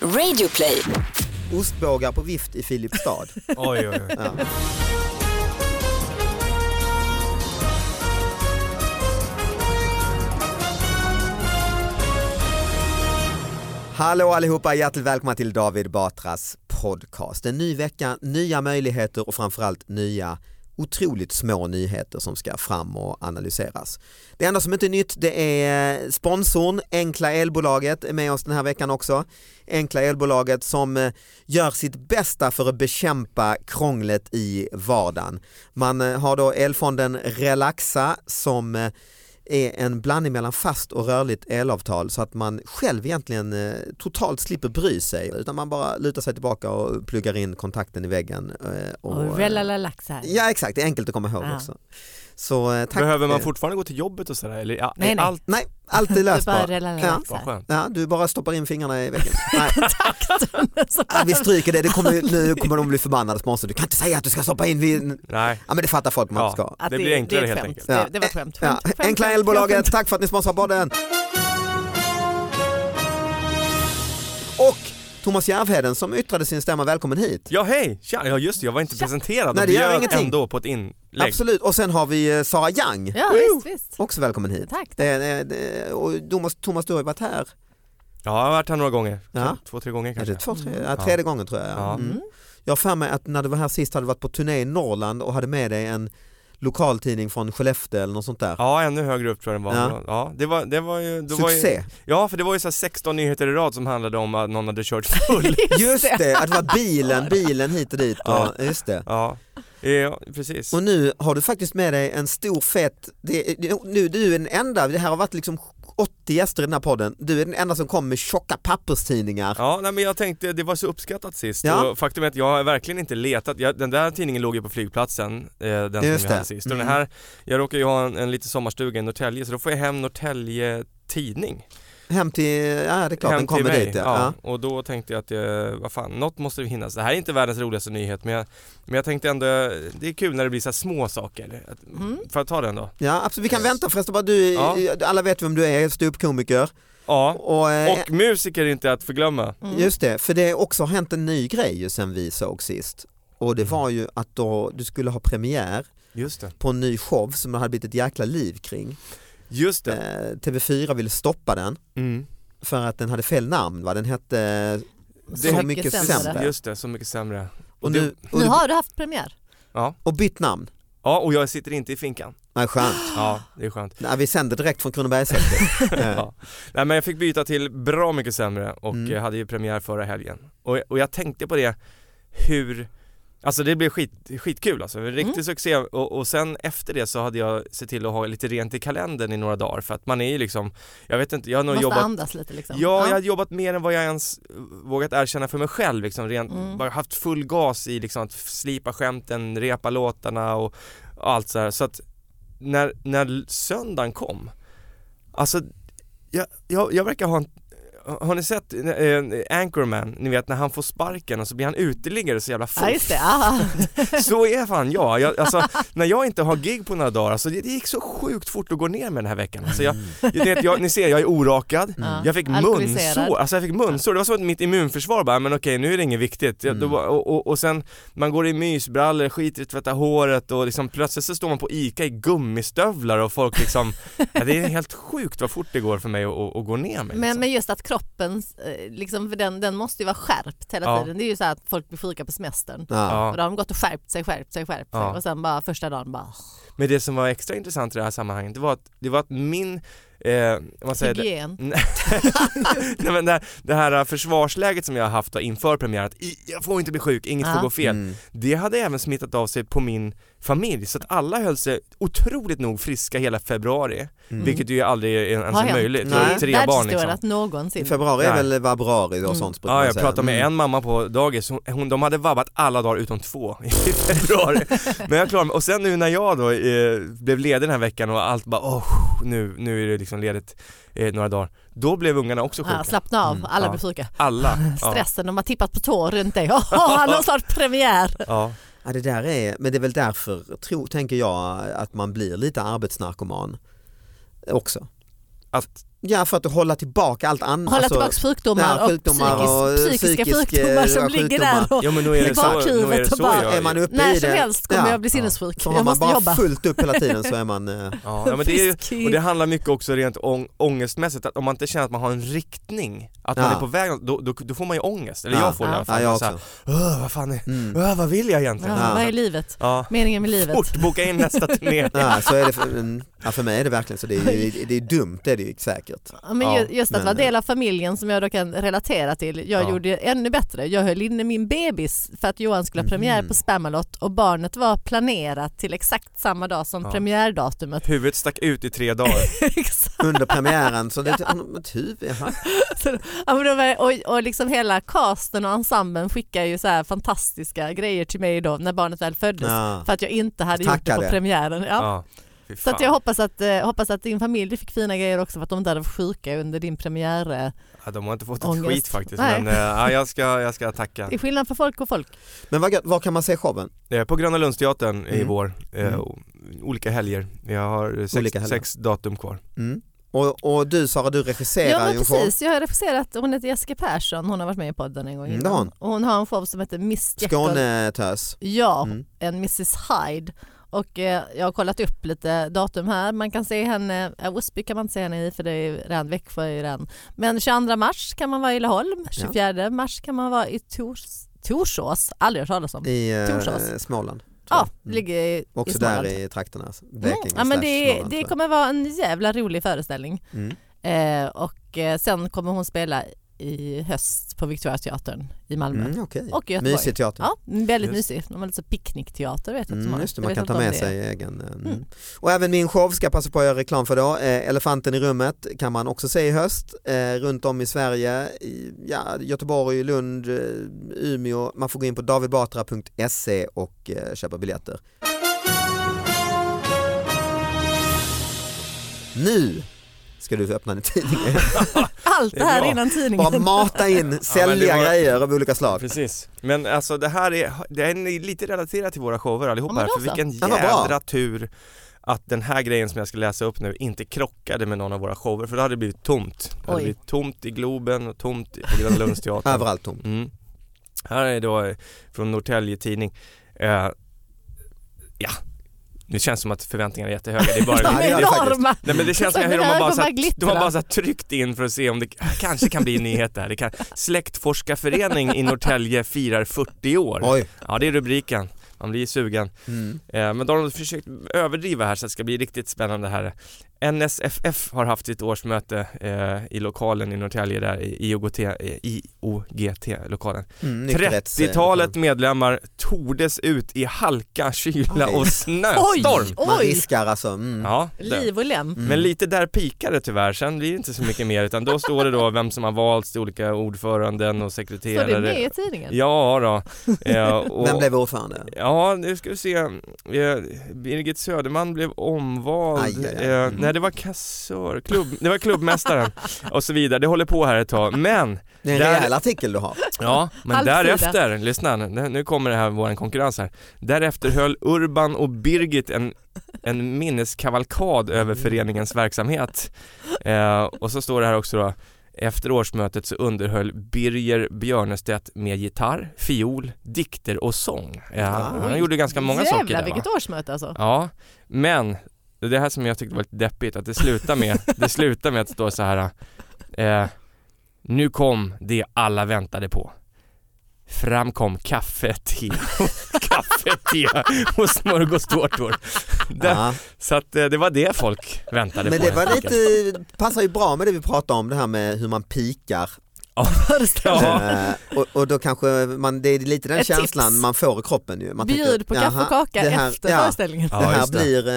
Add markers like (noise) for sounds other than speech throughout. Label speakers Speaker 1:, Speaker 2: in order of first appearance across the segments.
Speaker 1: Radioplay.
Speaker 2: Ostbågar på vift i Filipstad.
Speaker 3: Oj, oj, oj.
Speaker 2: Hallå allihopa, hjärtligt välkomna till David Batras podcast. En ny vecka, nya möjligheter och framförallt nya otroligt små nyheter som ska fram och analyseras. Det enda som inte är nytt det är sponsorn Enkla Elbolaget är med oss den här veckan också. Enkla Elbolaget som eh, gör sitt bästa för att bekämpa krånglet i vardagen. Man eh, har då elfonden Relaxa som eh, är en blandning mellan fast och rörligt elavtal så att man själv egentligen eh, totalt slipper bry sig utan man bara lutar sig tillbaka och pluggar in kontakten i väggen. eh,
Speaker 4: Och
Speaker 2: eh,
Speaker 4: relalaxar.
Speaker 2: Ja exakt, det är enkelt att komma ihåg
Speaker 4: Ja.
Speaker 2: också. Så, eh, tack.
Speaker 3: Behöver man
Speaker 2: Eh,
Speaker 3: fortfarande gå till jobbet och sådär? Eller, ja, nej,
Speaker 4: Nej, nej. (laughs)
Speaker 3: Allt
Speaker 2: Nej, allt är
Speaker 4: Du
Speaker 2: löst
Speaker 4: bara
Speaker 2: bara.
Speaker 3: var
Speaker 4: relalaxar.
Speaker 3: skönt.
Speaker 2: Ja, du bara stoppar in fingrarna i väggen.
Speaker 4: (laughs)
Speaker 2: Nej,
Speaker 3: (laughs)
Speaker 4: Så
Speaker 2: ja, Ah, vi stryker det, det kommer, ju- nu kommer de bli förbannade sponsor. Du kan inte säga att du ska stoppa in vid...
Speaker 3: Nej.
Speaker 2: Ja men det fattar folk man inte ska.
Speaker 4: att
Speaker 3: Det blir enklare
Speaker 4: är ett
Speaker 3: helt
Speaker 4: skämt.
Speaker 3: enkelt.
Speaker 2: Ja.
Speaker 4: Det, det var ett skämt.
Speaker 2: Ja.
Speaker 4: Skämt, skämt,
Speaker 2: Enkla
Speaker 4: skämt,
Speaker 2: elbolaget,
Speaker 4: skämt.
Speaker 2: tack för att ni sponsrar podden. Och Thomas Järvheden som yttrade sin stämma välkommen hit.
Speaker 3: Ja hej, tja, ja just det, jag var inte presenterad
Speaker 2: Nej,
Speaker 3: och
Speaker 2: det gör
Speaker 3: bjöd
Speaker 2: ingenting.
Speaker 3: ändå på ett inlägg.
Speaker 2: Absolut, och sen har vi eh, Sara Young.
Speaker 4: Ja, visst, visst.
Speaker 2: Också välkommen hit.
Speaker 4: Tack.
Speaker 2: Det, är- det, är- och Thomas, Thomas, du har ju varit här
Speaker 3: Ja, jag har varit här några gånger.
Speaker 2: Ja.
Speaker 3: Två, tre gånger
Speaker 2: Är
Speaker 3: kanske.
Speaker 2: det två, tre, ja, tredje gången tror jag. Ja.
Speaker 3: Ja.
Speaker 2: Mm. Jag har för mig att när du var här sist hade du varit på turné i Norrland och hade med dig en lokaltidning från Skellefteå eller något sånt där.
Speaker 3: Ja, ännu högre upp tror jag den var.
Speaker 2: Ja.
Speaker 3: Ja, det, var, det var ju... Det Var ju,
Speaker 2: Succé!
Speaker 3: ja, för det var ju så här 16 nyheter i rad som handlade om att någon hade kört
Speaker 2: (laughs)
Speaker 3: full.
Speaker 2: Just det, att det var
Speaker 3: (laughs)
Speaker 2: bilen, bilen hit och dit. Och,
Speaker 3: Ja.
Speaker 2: just det.
Speaker 3: ja. ja, precis.
Speaker 2: Och nu har du faktiskt med dig en stor fet, det, det- nu du är den enda, det här har varit liksom 80 gäster i den här podden, du är den enda som kom med tjocka papperstidningar.
Speaker 3: Ja, nej, men jag tänkte, det var så uppskattat sist
Speaker 2: Ja.
Speaker 3: och faktum är att jag har verkligen inte letat, jag, den där tidningen låg ju på flygplatsen, eh, den som
Speaker 2: Just
Speaker 3: jag
Speaker 2: det.
Speaker 3: hade sist. Och
Speaker 2: Mm.
Speaker 3: den här, jag råkar ju ha en, en liten sommarstuga i Norrtälje så då får jag hem Norrtälje tidning.
Speaker 2: Hem till, ja det är klart
Speaker 3: hem
Speaker 2: den kommer dit. Ja. Ja.
Speaker 3: Och då tänkte jag att, jag, vad fan, något måste vi hinna. Det här är inte världens roligaste nyhet men jag, men jag tänkte ändå, det är kul när det blir så här små saker. Att,
Speaker 2: Mm.
Speaker 3: Får jag ta den då?
Speaker 2: Ja, absolut. Vi kan vänta förresten, bara du,
Speaker 3: Ja.
Speaker 2: alla vet vem du är, ståuppkomiker.
Speaker 3: Ja,
Speaker 2: Och, eh, Mm.
Speaker 3: och musiker är inte att förglömma.
Speaker 4: Mm.
Speaker 2: Just det, för det har också hänt en ny grej ju sen vi såg sist. Och det
Speaker 3: Mm.
Speaker 2: var ju att då du skulle ha premiär
Speaker 3: Just det.
Speaker 2: på en ny show som det hade blivit ett jäkla liv kring.
Speaker 3: Just det.
Speaker 2: Eh, TV4 ville stoppa den
Speaker 3: Mm.
Speaker 2: för att den hade fel namn, va? den hette
Speaker 3: Det
Speaker 2: Så
Speaker 3: hette-
Speaker 2: mycket
Speaker 4: Mycket
Speaker 2: sämre.
Speaker 4: sämre.
Speaker 3: Just det, Så mycket sämre.
Speaker 2: Och, nu, och,
Speaker 4: Nu har du haft premiär.
Speaker 3: Ja.
Speaker 2: och bytt namn.
Speaker 3: ja, och jag sitter inte i finkan.
Speaker 2: Nej, skönt.
Speaker 3: Ja, det är skönt.
Speaker 2: Nej, vi sänder direkt från Kronobergshäktet.
Speaker 3: (laughs)
Speaker 2: Eh,
Speaker 3: Ja. Nej men jag fick byta till bra mycket sämre och
Speaker 2: Mm.
Speaker 3: eh, hade ju premiär förra helgen. Och, och jag tänkte på det, hur, alltså det blev skit, skitkul alltså, en riktig
Speaker 4: Mm.
Speaker 3: succé och, och sen efter det så hade jag sett till att ha lite rent i kalendern i några dagar för att man är ju liksom, jag vet inte, jag har nog
Speaker 4: Måste
Speaker 3: jobbat
Speaker 4: andas lite liksom.
Speaker 3: Ja, jag hade jobbat mer än vad jag ens eh, vågat erkänna för mig själv liksom, rent,
Speaker 4: Mm.
Speaker 3: bara haft full gas i liksom att slipa skämten, repa låtarna och allt så här. Så att när, när söndagen kom, alltså jag, jag, jag verkar ha en har ni sett eh, Anchorman, ni vet när han får sparken och så blir han uteliggare så jävla
Speaker 4: Ja,
Speaker 3: fort.
Speaker 4: just det. Ah.
Speaker 3: (laughs) Mm. Så är fan jag. jag alltså, när jag inte har gig på några dagar, alltså, det, det gick så sjukt fort att gå ner med den här veckan. Alltså, jag, jag, vet, jag, ni ser, jag är orakad,
Speaker 4: Ja.
Speaker 3: jag fick
Speaker 4: Alkoholiserad.
Speaker 3: munsår, alltså jag fick munsår, det var som att mitt immunförsvar bara, men okej nu är det inget viktigt. Jag, då,
Speaker 2: Mm.
Speaker 3: bara- och, och, och sen, man går i mysbrallor, skiter i att tvätta håret och liksom, plötsligt så står man på ICA i gummistövlar och folk
Speaker 4: (laughs)
Speaker 3: liksom, ja, det är helt sjukt vad fort det går för mig att- att, att gå ner mig.
Speaker 4: Men,
Speaker 3: liksom.
Speaker 4: men just att kroppen, eh, liksom, för den, den måste ju vara skärpt hela
Speaker 3: Ja.
Speaker 4: tiden. Det är ju så här att folk blir sjuka på semestern.
Speaker 2: Ja.
Speaker 4: Och
Speaker 3: Ja.
Speaker 4: då har de gått och skärpt sig, skärpt sig, skärpt sig.
Speaker 3: Ja.
Speaker 4: Och sen bara första dagen bara
Speaker 3: Men det som var extra intressant i det här sammanhanget, det var att, det var att min, eh, om man säger det,
Speaker 4: hygien.
Speaker 3: Nej, men det, (laughs) här, det här försvarsläget som jag har haft då inför premiären, att i- jag får inte bli sjuk, inget
Speaker 4: Ja.
Speaker 3: får gå fel.
Speaker 2: Mm.
Speaker 3: Det hade även smittat av sig på min familj, så att alla höll sig otroligt nog friska hela februari,
Speaker 2: Mm.
Speaker 3: vilket ju aldrig är ens
Speaker 4: Har
Speaker 3: är
Speaker 4: hänt.
Speaker 3: möjligt.
Speaker 2: Nej.
Speaker 3: Jag har Tre barn liksom.
Speaker 4: att någonsin.
Speaker 2: Februari är
Speaker 3: Nej.
Speaker 2: väl vabrari
Speaker 4: Mm.
Speaker 2: och sånt brukar
Speaker 3: Ja,
Speaker 2: man
Speaker 3: jag
Speaker 2: säga.
Speaker 3: pratade med
Speaker 2: Mm.
Speaker 3: en mamma på dagis, hon, hon, de hade vabbat alla dagar utom två i februari.
Speaker 4: (laughs)
Speaker 3: Men jag klarade mig. Och sen nu när jag då eh, blev ledig den här veckan och allt bara åh, nu, nu är det liksom ledigt eh, några dagar. Då blev ungarna också sjuka.
Speaker 4: Ja, slappna av,
Speaker 2: Mm,
Speaker 4: alla
Speaker 3: ja.
Speaker 4: blir sjuka. (laughs)
Speaker 3: Alla. Ja,
Speaker 4: Stressen, de har tippat på tår runt dig. (laughs) Åh, han har snart
Speaker 2: Alltså,
Speaker 4: premiär.
Speaker 3: ja.
Speaker 2: Ja, det där är, men det är väl därför, tro, tänker jag, att man blir lite arbetsnarkoman också.
Speaker 3: Att
Speaker 2: Ja för att hålla tillbaka allt annat.
Speaker 4: Hålla
Speaker 2: Alltså,
Speaker 4: tillbaka sjukdomar
Speaker 2: ja,
Speaker 4: och,
Speaker 2: sjukdomar och
Speaker 4: psykis, psykiska
Speaker 2: psykisk, eh,
Speaker 4: sjukdomar som
Speaker 2: sjukdomar.
Speaker 4: ligger där och
Speaker 3: Ja men nu är
Speaker 4: I
Speaker 3: det så, nu är
Speaker 4: bakhuvudet
Speaker 3: det
Speaker 4: och
Speaker 3: så
Speaker 4: bara-
Speaker 3: jag
Speaker 2: är man
Speaker 3: gör.
Speaker 2: uppe
Speaker 4: när
Speaker 2: i
Speaker 4: som
Speaker 2: det.
Speaker 4: helst kommer
Speaker 2: Ja.
Speaker 4: jag bli sinnessjuk.
Speaker 2: Så har
Speaker 4: jag
Speaker 2: man
Speaker 4: måste
Speaker 2: bara
Speaker 4: jobba.
Speaker 2: fullt upp hela tiden
Speaker 4: (laughs)
Speaker 2: så är man eh,
Speaker 3: Ja, ja, men det är ju,
Speaker 4: Frisk i-
Speaker 3: och det handlar mycket också rent ång, ångestmässigt, att om man inte känner att man har en riktning, att man
Speaker 2: Ja.
Speaker 3: är på väg, då, då, då får man ju ångest, eller
Speaker 2: Ja.
Speaker 3: jag får det i
Speaker 4: Ja.
Speaker 2: ja,
Speaker 3: alla fall.
Speaker 2: jag
Speaker 3: så här,
Speaker 2: också.
Speaker 3: "Åh, vad fan är,
Speaker 2: Mm.
Speaker 3: åh, vad vill jag
Speaker 4: ja,
Speaker 3: egentligen?
Speaker 2: Ja.
Speaker 4: Vad är livet?
Speaker 3: Ja.
Speaker 4: Meningen med livet?
Speaker 3: Fort, boka in nästa turné.
Speaker 2: (laughs) Ja, så är det för, mm, ja, för mig är det verkligen så, det är, ju- det är dumt det är det ju säkert.
Speaker 4: Ja, Men
Speaker 3: Ja,
Speaker 4: ju- just att
Speaker 2: men-
Speaker 4: vara del av familjen som jag då kan relatera till. Jag
Speaker 3: Ja.
Speaker 4: gjorde ännu bättre. Jag höll inne min bebis för att Johan skulle ha premiär
Speaker 2: Mhm.
Speaker 4: på Spamalot och barnet var planerat till exakt samma dag som
Speaker 3: Ja.
Speaker 2: (laughs)
Speaker 4: premiärdatumet.
Speaker 3: Huvudet stack ut i tre dagar.
Speaker 4: Exakt.
Speaker 2: Under premiären så det, typ, han har ett huvud, jaha.
Speaker 4: Ja, men det var- och, och liksom hela casten och ensemblen skickar ju så här fantastiska grejer till mig då när barnet väl föddes.
Speaker 2: Ja.
Speaker 4: För att jag inte hade gjort det
Speaker 2: Tackade.
Speaker 4: på premiären. Ja.
Speaker 3: Fy
Speaker 4: Så att
Speaker 3: fan.
Speaker 4: jag hoppas att, eh, hoppas att din familj fick fina grejer också för att de inte hade varit sjuka under din premiär. eh.
Speaker 3: ja, de har inte fått
Speaker 4: Ångest.
Speaker 3: ett skit faktiskt,
Speaker 4: Nej.
Speaker 3: men eh, ja, jag, ska, jag ska tacka.
Speaker 4: Det är skillnad för folk och folk.
Speaker 2: Men vad, gött, var kan man se showen?
Speaker 3: Eh, På Gröna Lundsteatern i
Speaker 2: Mm.
Speaker 3: vår, eh,
Speaker 2: Mm.
Speaker 3: o- olika helger. Jag har eh,
Speaker 2: Olika
Speaker 3: sex,
Speaker 2: helger.
Speaker 3: sex datum kvar.
Speaker 2: Mm. Och, och du Sara, du regisserar
Speaker 4: Ja men
Speaker 2: ju en show.
Speaker 4: precis, jag har regisserat, hon heter Jessica Persson, hon har varit med i podden en gång
Speaker 2: Mm,
Speaker 4: innan.
Speaker 2: det har hon.
Speaker 4: Och hon har en show som heter Miss Jekyll.
Speaker 2: Skånetös.
Speaker 4: Ja,
Speaker 2: Mm.
Speaker 4: en Mrs Hyde. Och eh, jag har kollat upp lite datum här. Man kan se henne, äh, Osby kan man inte se henne i för det är ju redan Växjö är ju redan. Men 22 mars kan man vara i Laholm, 24 mars kan man vara i Tors, Torsås, aldrig hört talas om.
Speaker 2: I eh,
Speaker 4: Torsås.
Speaker 2: Småland. tror
Speaker 4: Ja,
Speaker 2: jag. Mm.
Speaker 4: ligger i, i
Speaker 2: Också där
Speaker 4: Småland.
Speaker 2: i trakterna. alltså.
Speaker 4: Mm.
Speaker 2: Blekinge
Speaker 4: Ja, men
Speaker 2: slash
Speaker 4: det,
Speaker 2: Småland,
Speaker 4: det
Speaker 2: tror jag.
Speaker 4: kommer vara en jävla rolig föreställning.
Speaker 2: Mm.
Speaker 4: Eh, och eh, sen kommer hon spela i höst på Victoriateatern i Malmö.
Speaker 2: Mm, okej.
Speaker 4: Och i Göteborg.
Speaker 2: Mysig teater.
Speaker 4: Ja, väldigt
Speaker 3: Just.
Speaker 4: mysig. De har lite så picknickteater vet jag inte så
Speaker 2: Mm,
Speaker 4: många-
Speaker 2: just det,
Speaker 4: jag
Speaker 2: man
Speaker 4: vet
Speaker 2: kan
Speaker 4: inte
Speaker 2: ta
Speaker 4: om
Speaker 2: med
Speaker 4: det
Speaker 2: sig
Speaker 4: är-
Speaker 2: egen. eh, Mm.
Speaker 4: Mm.
Speaker 2: Och även min show ska jag passa på att göra reklam för då. Eh, Elefanten i rummet kan man också se i höst eh, runt om i Sverige. I, ja, Göteborg, Lund, eh, Umeå. Man får gå in på davidbatra.se och eh, köpa biljetter. Nu ska du få öppna din tidning.
Speaker 4: Allt det här
Speaker 3: Det är bra.
Speaker 4: innan tidningen.
Speaker 2: Bara mata
Speaker 4: (laughs)
Speaker 2: in, sälja
Speaker 3: var-
Speaker 2: grejer av olika slag.
Speaker 3: Precis. Men alltså det här är, det är lite relaterat till våra shower
Speaker 4: Ja,
Speaker 3: allihopa
Speaker 4: men
Speaker 3: här,
Speaker 4: då
Speaker 3: för
Speaker 4: så.
Speaker 3: vilken
Speaker 2: Ja, vad bra.
Speaker 3: jädra tur att den här grejen som jag ska läsa upp nu inte krockade med någon av våra shower, för då hade det blivit tomt. Det hade
Speaker 4: Oj.
Speaker 3: blivit tomt i Globen och tomt i- på
Speaker 2: (laughs)
Speaker 3: Gröna Lundsteatern.
Speaker 2: Överallt tomt.
Speaker 3: Mm. Här är då eh, från Norrtelje Tidning. Eh, ja, nu känns det som att förväntningarna är jättehöga. Det är
Speaker 4: (laughs)
Speaker 3: bara,
Speaker 4: De
Speaker 2: Ja, det
Speaker 4: är
Speaker 2: gör det faktiskt.
Speaker 4: enorma.
Speaker 3: Nej men det
Speaker 4: (laughs)
Speaker 3: känns som att de
Speaker 4: Mina
Speaker 3: har bara,
Speaker 4: ögon
Speaker 3: så
Speaker 4: bara
Speaker 3: här, de har
Speaker 4: glittrar.
Speaker 3: bara så här tryckt in för att se om det kanske kan bli en nyhet där. Det kan, släktforskarförening i Norrtälje firar 40 år.
Speaker 2: Oj.
Speaker 3: Ja det är rubriken. Man blir ju sugen.
Speaker 2: Mm.
Speaker 3: Eh, Men då har de försökt överdriva här så att det ska bli riktigt spännande här. NSFF har haft sitt årsmöte eh, i lokalen i Norrtälje där i IOGT, eh, IOGT-lokalen.
Speaker 2: Mm, nykterhets-
Speaker 3: 30-talet medlemmar tordes ut i halka, kyla
Speaker 2: Oj.
Speaker 3: och
Speaker 4: Oj,
Speaker 3: snöstorm.
Speaker 2: Man
Speaker 4: oj.
Speaker 2: riskar alltså. Mm.
Speaker 3: Ja, det-
Speaker 4: Liv och lem.
Speaker 2: Mm.
Speaker 3: men lite där pikar det tyvärr, sen blir det inte så mycket mer utan då står det då vem som har valts till olika ordföranden och
Speaker 4: Står
Speaker 3: sekreterare.
Speaker 4: det med i tidningen?
Speaker 3: Ja då. Eh, och,
Speaker 2: Vem blev ordförande?
Speaker 3: Ja, nu ska vi se. Eh, Birgit Söderman blev omvald.
Speaker 2: Aj, aj, aj.
Speaker 3: Eh,
Speaker 2: Mm.
Speaker 3: nej, det var kassör, klubb, det var klubbmästaren och så vidare. Det håller på här ett tag. Men,
Speaker 2: Det är en
Speaker 3: Där-
Speaker 2: rejäl artikel du har.
Speaker 3: ja, men
Speaker 4: Halvsida.
Speaker 3: därefter, lyssna, nu nu kommer det här, vår konkurrens här. Därefter höll Urban och Birgit en, en minneskavalkad över
Speaker 4: Mm.
Speaker 3: föreningens verksamhet. Eh, och så står det här också då. Efter årsmötet så underhöll Birger Björnestedt med gitarr, fiol, dikter och sång. Eh, han gjorde ganska många
Speaker 4: Ah, Jävlar,
Speaker 3: saker där, va?
Speaker 4: vilket årsmöte alltså.
Speaker 3: Ja, men det här som jag tyckte var lite deppigt, att det slutar med, det slutar med att stå så här. Eh, nu kom det alla väntade på. Fram kom kaffe, te, (laughs) kaffe, te och smörgåstårtor. Det,
Speaker 2: Ja.
Speaker 3: Så att eh, det var det folk väntade
Speaker 2: Men
Speaker 3: på.
Speaker 2: det var
Speaker 3: helt enkelt.
Speaker 2: lite, passar ju bra med det vi pratade om, det här med hur man pikar.
Speaker 3: Ja.
Speaker 2: Eh, och, och då kanske man, det är lite den
Speaker 4: Ett
Speaker 2: känslan
Speaker 4: tips.
Speaker 2: man får i kroppen ju. Man tänker,
Speaker 4: Bjud på kaffe
Speaker 2: jaha,
Speaker 4: och kaka
Speaker 2: det här-
Speaker 4: efter
Speaker 2: ja,
Speaker 4: föreställningen.
Speaker 2: Det här
Speaker 3: just det.
Speaker 2: blir, eh,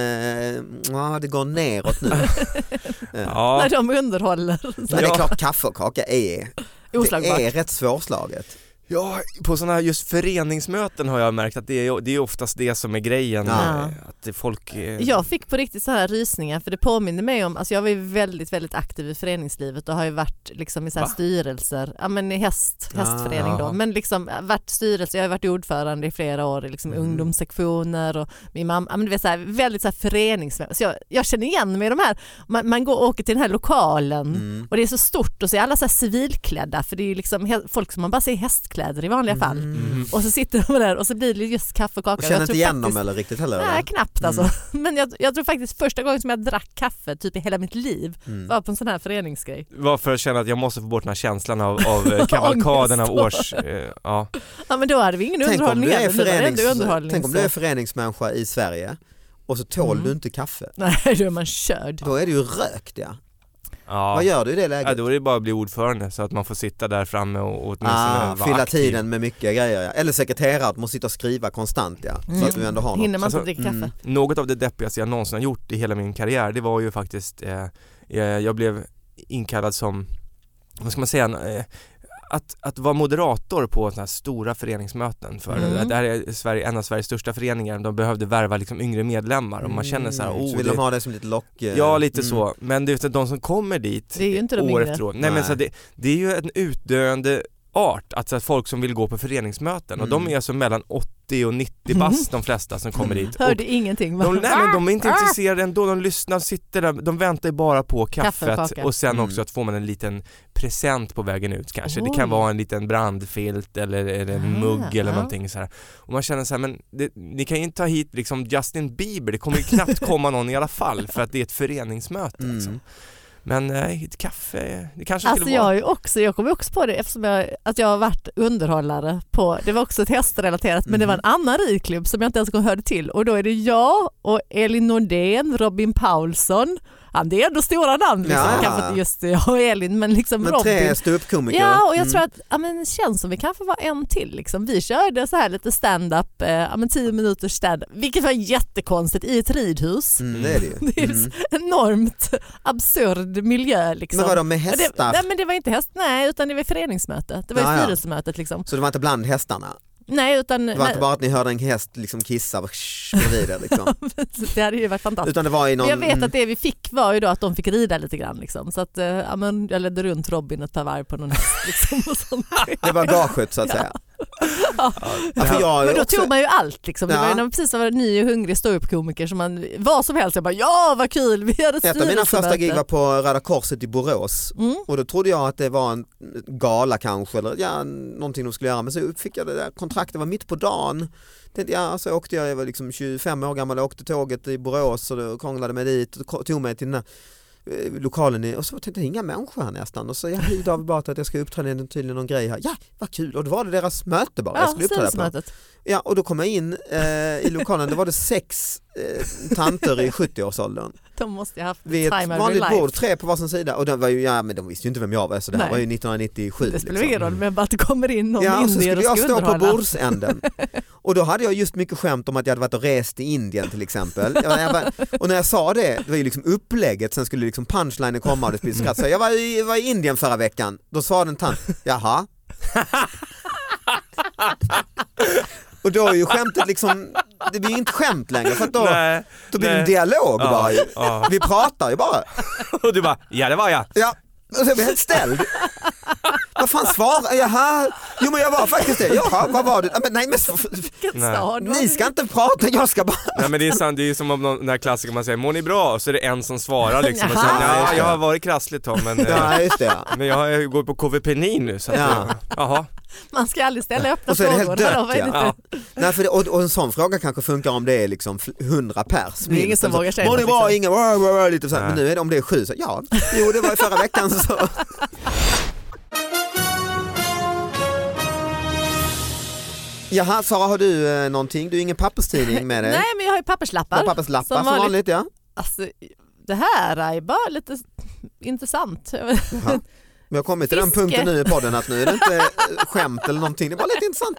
Speaker 2: ja det går neråt
Speaker 4: (laughs)
Speaker 2: nu. Eh,
Speaker 3: Ja,
Speaker 4: När de underhåller.
Speaker 2: Men det är
Speaker 3: Ja.
Speaker 2: klart kaffe och kaka är, det
Speaker 4: Oslagbart.
Speaker 2: är rätt svårslaget.
Speaker 3: Ja, på sådana här just föreningsmöten har jag märkt att det är, det är oftast det som är grejen.
Speaker 2: Ja.
Speaker 3: eh, Att det- folk... eh,
Speaker 4: Jag fick på riktigt så här rysningar för det påminner mig om, alltså jag var ju väldigt, väldigt aktiv i föreningslivet och har ju varit liksom i så här
Speaker 3: Va?
Speaker 4: styrelser, ja men i häst,
Speaker 2: Ah,
Speaker 4: hästförening
Speaker 3: ja.
Speaker 4: då, men liksom varit styrelse, jag har ju varit ordförande i flera år i liksom
Speaker 2: Mm.
Speaker 4: ungdomssektioner och min mamma, ja men du vet så här, väldigt så här förenings... Så jag, jag känner igen mig i de här, man, man går och åker till den här lokalen
Speaker 2: Mm.
Speaker 4: och det är så stort och så är alla så här civilklädda för det är ju liksom he- folk som man bara ser i hästkläder i vanliga fall.
Speaker 3: Mm.
Speaker 4: Och så sitter de där och så blir det just kaffe och kaka.
Speaker 2: Och
Speaker 4: Jag
Speaker 2: känner inte
Speaker 4: tror
Speaker 2: igen
Speaker 4: faktiskt-
Speaker 2: dem eller riktigt heller?
Speaker 4: Nej,
Speaker 2: eller? Mm.
Speaker 4: knappt alltså. (laughs) Men jag, jag tror faktiskt första gången som jag drack kaffe typ i hela mitt liv
Speaker 2: Mm.
Speaker 4: var på en sån här föreningsgrej.
Speaker 3: Varför känna att jag måste få bort den här känslan av,
Speaker 2: (laughs)
Speaker 3: av eh, kavalkaden av års... eh, Ja.
Speaker 4: Ja men då hade vi ingen
Speaker 2: Tänk om,
Speaker 4: underhållning
Speaker 2: du är
Speaker 4: heller. Nu var det ändå
Speaker 2: förenings...
Speaker 4: underhållning,
Speaker 2: Tänk om du är
Speaker 4: så-
Speaker 2: föreningsmänniska i Sverige och så tål
Speaker 4: Mm.
Speaker 2: du inte kaffe.
Speaker 4: (laughs) Nej då är man körd.
Speaker 2: Då är du ju rökt ja. Vad
Speaker 3: Ja.
Speaker 2: gör du i det
Speaker 3: ja,
Speaker 2: läget?
Speaker 3: då är det bara att bli ordförande så att man får sitta där framme och åtminstone
Speaker 2: Ah,
Speaker 3: vara
Speaker 2: fylla
Speaker 3: aktiv.
Speaker 2: tiden med mycket grejer ja. Eller sekreterare, du måste sitta och skriva konstant ja. Så
Speaker 4: Mm.
Speaker 2: att du ändå har något.
Speaker 4: Hinner man inte
Speaker 3: Alltså,
Speaker 4: dricka
Speaker 2: mm.
Speaker 4: kaffe?
Speaker 3: Något av det deppigaste jag någonsin har gjort i hela min karriär det var ju faktiskt eh, eh, jag blev inkallad som, vad ska man säga, eh, att, att vara moderator på sådana här stora föreningsmöten för
Speaker 4: Mm.
Speaker 3: det här är Sverige, en av Sveriges största föreningar, de behövde värva liksom yngre medlemmar och man känner så här,
Speaker 2: Mm.
Speaker 3: oh,
Speaker 2: Så vill
Speaker 3: det,
Speaker 2: de ha det som lite lock... eh,
Speaker 3: Ja lite
Speaker 2: mm.
Speaker 3: så, men du vet de som kommer dit
Speaker 4: Det är ju inte de
Speaker 3: år
Speaker 4: yngre.
Speaker 3: efter år, nej, men
Speaker 2: Nej.
Speaker 3: så det, det är ju en utdöende art, att, så att folk som vill gå på föreningsmöten och
Speaker 2: Mm.
Speaker 3: de är alltså mellan 80 och 90 bast
Speaker 4: Mhm.
Speaker 3: de flesta som kommer
Speaker 2: Mm.
Speaker 3: dit och
Speaker 4: Hörde ingenting. va?
Speaker 3: de,
Speaker 4: (laughs)
Speaker 3: nej, men de är inte
Speaker 4: Ah!
Speaker 3: intresserade ändå, de lyssnar, sitter där, de väntar ju bara på kaffet
Speaker 4: kaka.
Speaker 3: och sen
Speaker 2: Mm.
Speaker 3: också att får man en liten present på vägen ut kanske. Det
Speaker 4: Oj.
Speaker 3: kan vara en liten brandfilt eller, eller en
Speaker 4: Ah,
Speaker 3: mugg eller
Speaker 4: ja.
Speaker 3: någonting så här. Och man känner så här, men det, ni kan ju inte ta hit liksom Justin Bieber, det kommer ju knappt komma någon i alla fall för att det är ett föreningsmöte
Speaker 2: Mm.
Speaker 3: liksom. Men nej, ett kaffe, det kanske
Speaker 4: Alltså
Speaker 3: skulle
Speaker 4: jag
Speaker 3: vara...
Speaker 4: har ju också, jag kommer också på det eftersom jag, att jag har varit underhållare på, det var också ett hästrelaterat men det var en
Speaker 2: Mhm.
Speaker 4: annan ridklubb som jag inte ens hörde till och då är det jag och Elin Nordén, Robin Paulsson, han det är ändå stora namn liksom,
Speaker 2: Ja.
Speaker 4: kanske inte just jag och Elin men liksom
Speaker 2: Men
Speaker 4: Robin.
Speaker 2: tre ståuppkomiker.
Speaker 4: Ja och jag
Speaker 2: Mm.
Speaker 4: tror att ja, men det känns som vi kanske var en till. Liksom. Vi körde så här lite stand-up, eh, ja, men tio minuters stand-up, vilket var jättekonstigt i ett ridhus.
Speaker 2: Mm, det är det ju.
Speaker 4: Det är ju
Speaker 2: Mm.
Speaker 4: (laughs) Enormt absurd miljö. Liksom.
Speaker 2: Men vadå med
Speaker 4: Ja, det-
Speaker 2: hästar?
Speaker 4: Nej men det var inte häst, nej utan det var föreningsmötet. Det var
Speaker 2: Ja,
Speaker 4: ju
Speaker 2: ja.
Speaker 4: styrelsemötet liksom.
Speaker 2: Så det var inte bland hästarna?
Speaker 4: Nej utan,
Speaker 2: Det var
Speaker 4: nej,
Speaker 2: inte bara att ni hörde en häst liksom kissa shh, bredvid er
Speaker 4: (laughs)
Speaker 2: liksom?
Speaker 4: det hade ju varit fantastiskt.
Speaker 2: Utan det var i
Speaker 4: Men
Speaker 2: någon...
Speaker 4: jag vet
Speaker 2: mm.
Speaker 4: att det vi fick var ju då att de fick rida lite grann liksom. Så att, eh, ja, men jag ledde runt Robin ett par varv på någon häst liksom och sånt.
Speaker 2: (laughs) Det var gaget så att
Speaker 4: Ja.
Speaker 2: säga.
Speaker 4: Ja.
Speaker 2: Ja, för jag är
Speaker 4: Men då
Speaker 2: också-
Speaker 4: tog man ju allt liksom. Det var ju
Speaker 2: Ja.
Speaker 4: när man precis var ny och hungrig ståuppkomiker som man, vad som helst, jag bara ja vad kul vi hade
Speaker 2: Ett av mina första gig var
Speaker 4: styrelsemöte.
Speaker 2: på Röda Korset i Borås
Speaker 4: Mm.
Speaker 2: och då trodde jag att det var en gala kanske eller ja, någonting de skulle göra men så fick jag det där kontraktet, det var mitt på dagen. Tänkte, ja, så åkte jag, jag var liksom 25 år gammal och åkte tåget i Borås och då krånglade mig dit och ko- tog mig till den här eh, lokalen i- och så tänkte jag inga människor här nästan och så jag hyrde av bara att jag ska uppträda i tydligen någon grej här. Ja, vad kul och då var det deras möte bara. jag
Speaker 4: Ja,
Speaker 2: skulle uppträda på.
Speaker 4: styrelsemötet.
Speaker 2: Ja, och då kom jag in eh, i lokalen, då var det sex eh, tanter i 70-årsåldern
Speaker 4: De måste ju ha haft
Speaker 2: vid ett
Speaker 4: time of your
Speaker 2: vanligt
Speaker 4: life.
Speaker 2: bord, tre på varsin sida. Och de, var ju, ja, men de visste ju inte vem jag var så det här
Speaker 4: Nej.
Speaker 2: var ju 1997.
Speaker 4: Det spelar ingen roll men bara att det kommer in någon
Speaker 2: liksom. Ja, och så
Speaker 4: indier
Speaker 2: skulle
Speaker 4: och ska
Speaker 2: jag stå på
Speaker 4: underhålla.
Speaker 2: bordsänden. Och då hade jag just mycket skämt om att jag hade varit och rest i Indien till exempel. Jag, jag
Speaker 4: (laughs)
Speaker 2: bara, och när jag sa det, det var ju liksom upplägget, sen skulle liksom punchlinen komma och det skulle skratt. Så jag var i, var i Indien förra veckan. Då sa den tant, jaha? Och då är ju skämtet liksom, det blir ju inte skämt längre för att då,
Speaker 3: Nej,
Speaker 2: då blir det en
Speaker 3: nej.
Speaker 2: dialog
Speaker 3: Ja,
Speaker 2: bara ju.
Speaker 3: ja.
Speaker 2: Vi pratar ju bara.
Speaker 3: (laughs) Och du bara, ja det var jag.
Speaker 2: Ja, och så blev jag helt ställd. vad fan svarar Jaha, jo men jag var faktiskt det. Jaha, vad var det? Ja, Men, nej men f- f-
Speaker 4: Vilken
Speaker 3: Nej.
Speaker 4: stad var
Speaker 2: ni
Speaker 4: det?
Speaker 2: ska inte prata, jag ska bara...
Speaker 3: Nej men det är sant, det är ju som om någon, den här klassikern man säger, mår ni bra? Och så är det en som svarar liksom och
Speaker 4: (laughs)
Speaker 3: sen,
Speaker 4: Jaha.
Speaker 3: ja, jag har varit krasslig Tom men eh,
Speaker 2: Ja just det ja.
Speaker 3: Men jag har- jag går på KVPNI nu så att,
Speaker 2: Ja.
Speaker 3: jaha.
Speaker 4: Man ska aldrig ställa öppna
Speaker 2: Och så är det helt
Speaker 4: frågor.
Speaker 2: dött,
Speaker 4: Vadå, vad är det
Speaker 2: ja.
Speaker 4: för-
Speaker 3: Ja.
Speaker 2: Nej, för det, och, och en sån fråga kanske funkar om det är liksom fl- 100 pers.
Speaker 4: Det är ingen
Speaker 2: minst.
Speaker 4: som
Speaker 2: Alltså,
Speaker 4: vågar säga
Speaker 2: Mår ni
Speaker 4: något,
Speaker 2: bra?
Speaker 4: liksom.
Speaker 2: Ingen, wow, wow, wow, lite så här.
Speaker 3: Nej.
Speaker 2: Men nu är det om det är sju, så ja, jo det var i förra veckan så. Jaha, Sara har du eh, någonting? Du är ingen papperstidning med dig?
Speaker 4: (laughs) Nej men jag har ju
Speaker 2: Bara
Speaker 4: papperslappar.
Speaker 2: papperslappar som
Speaker 4: Som
Speaker 2: vanligt,
Speaker 4: vanligt.
Speaker 2: ja.
Speaker 4: Alltså, det här är bara lite s- intressant. (laughs)
Speaker 2: Jaha. Vi har kommit till den
Speaker 4: Fiske.
Speaker 2: punkten nu i podden att nu är det
Speaker 4: (laughs)
Speaker 2: inte eh, skämt eller någonting, det är bara lite intressant.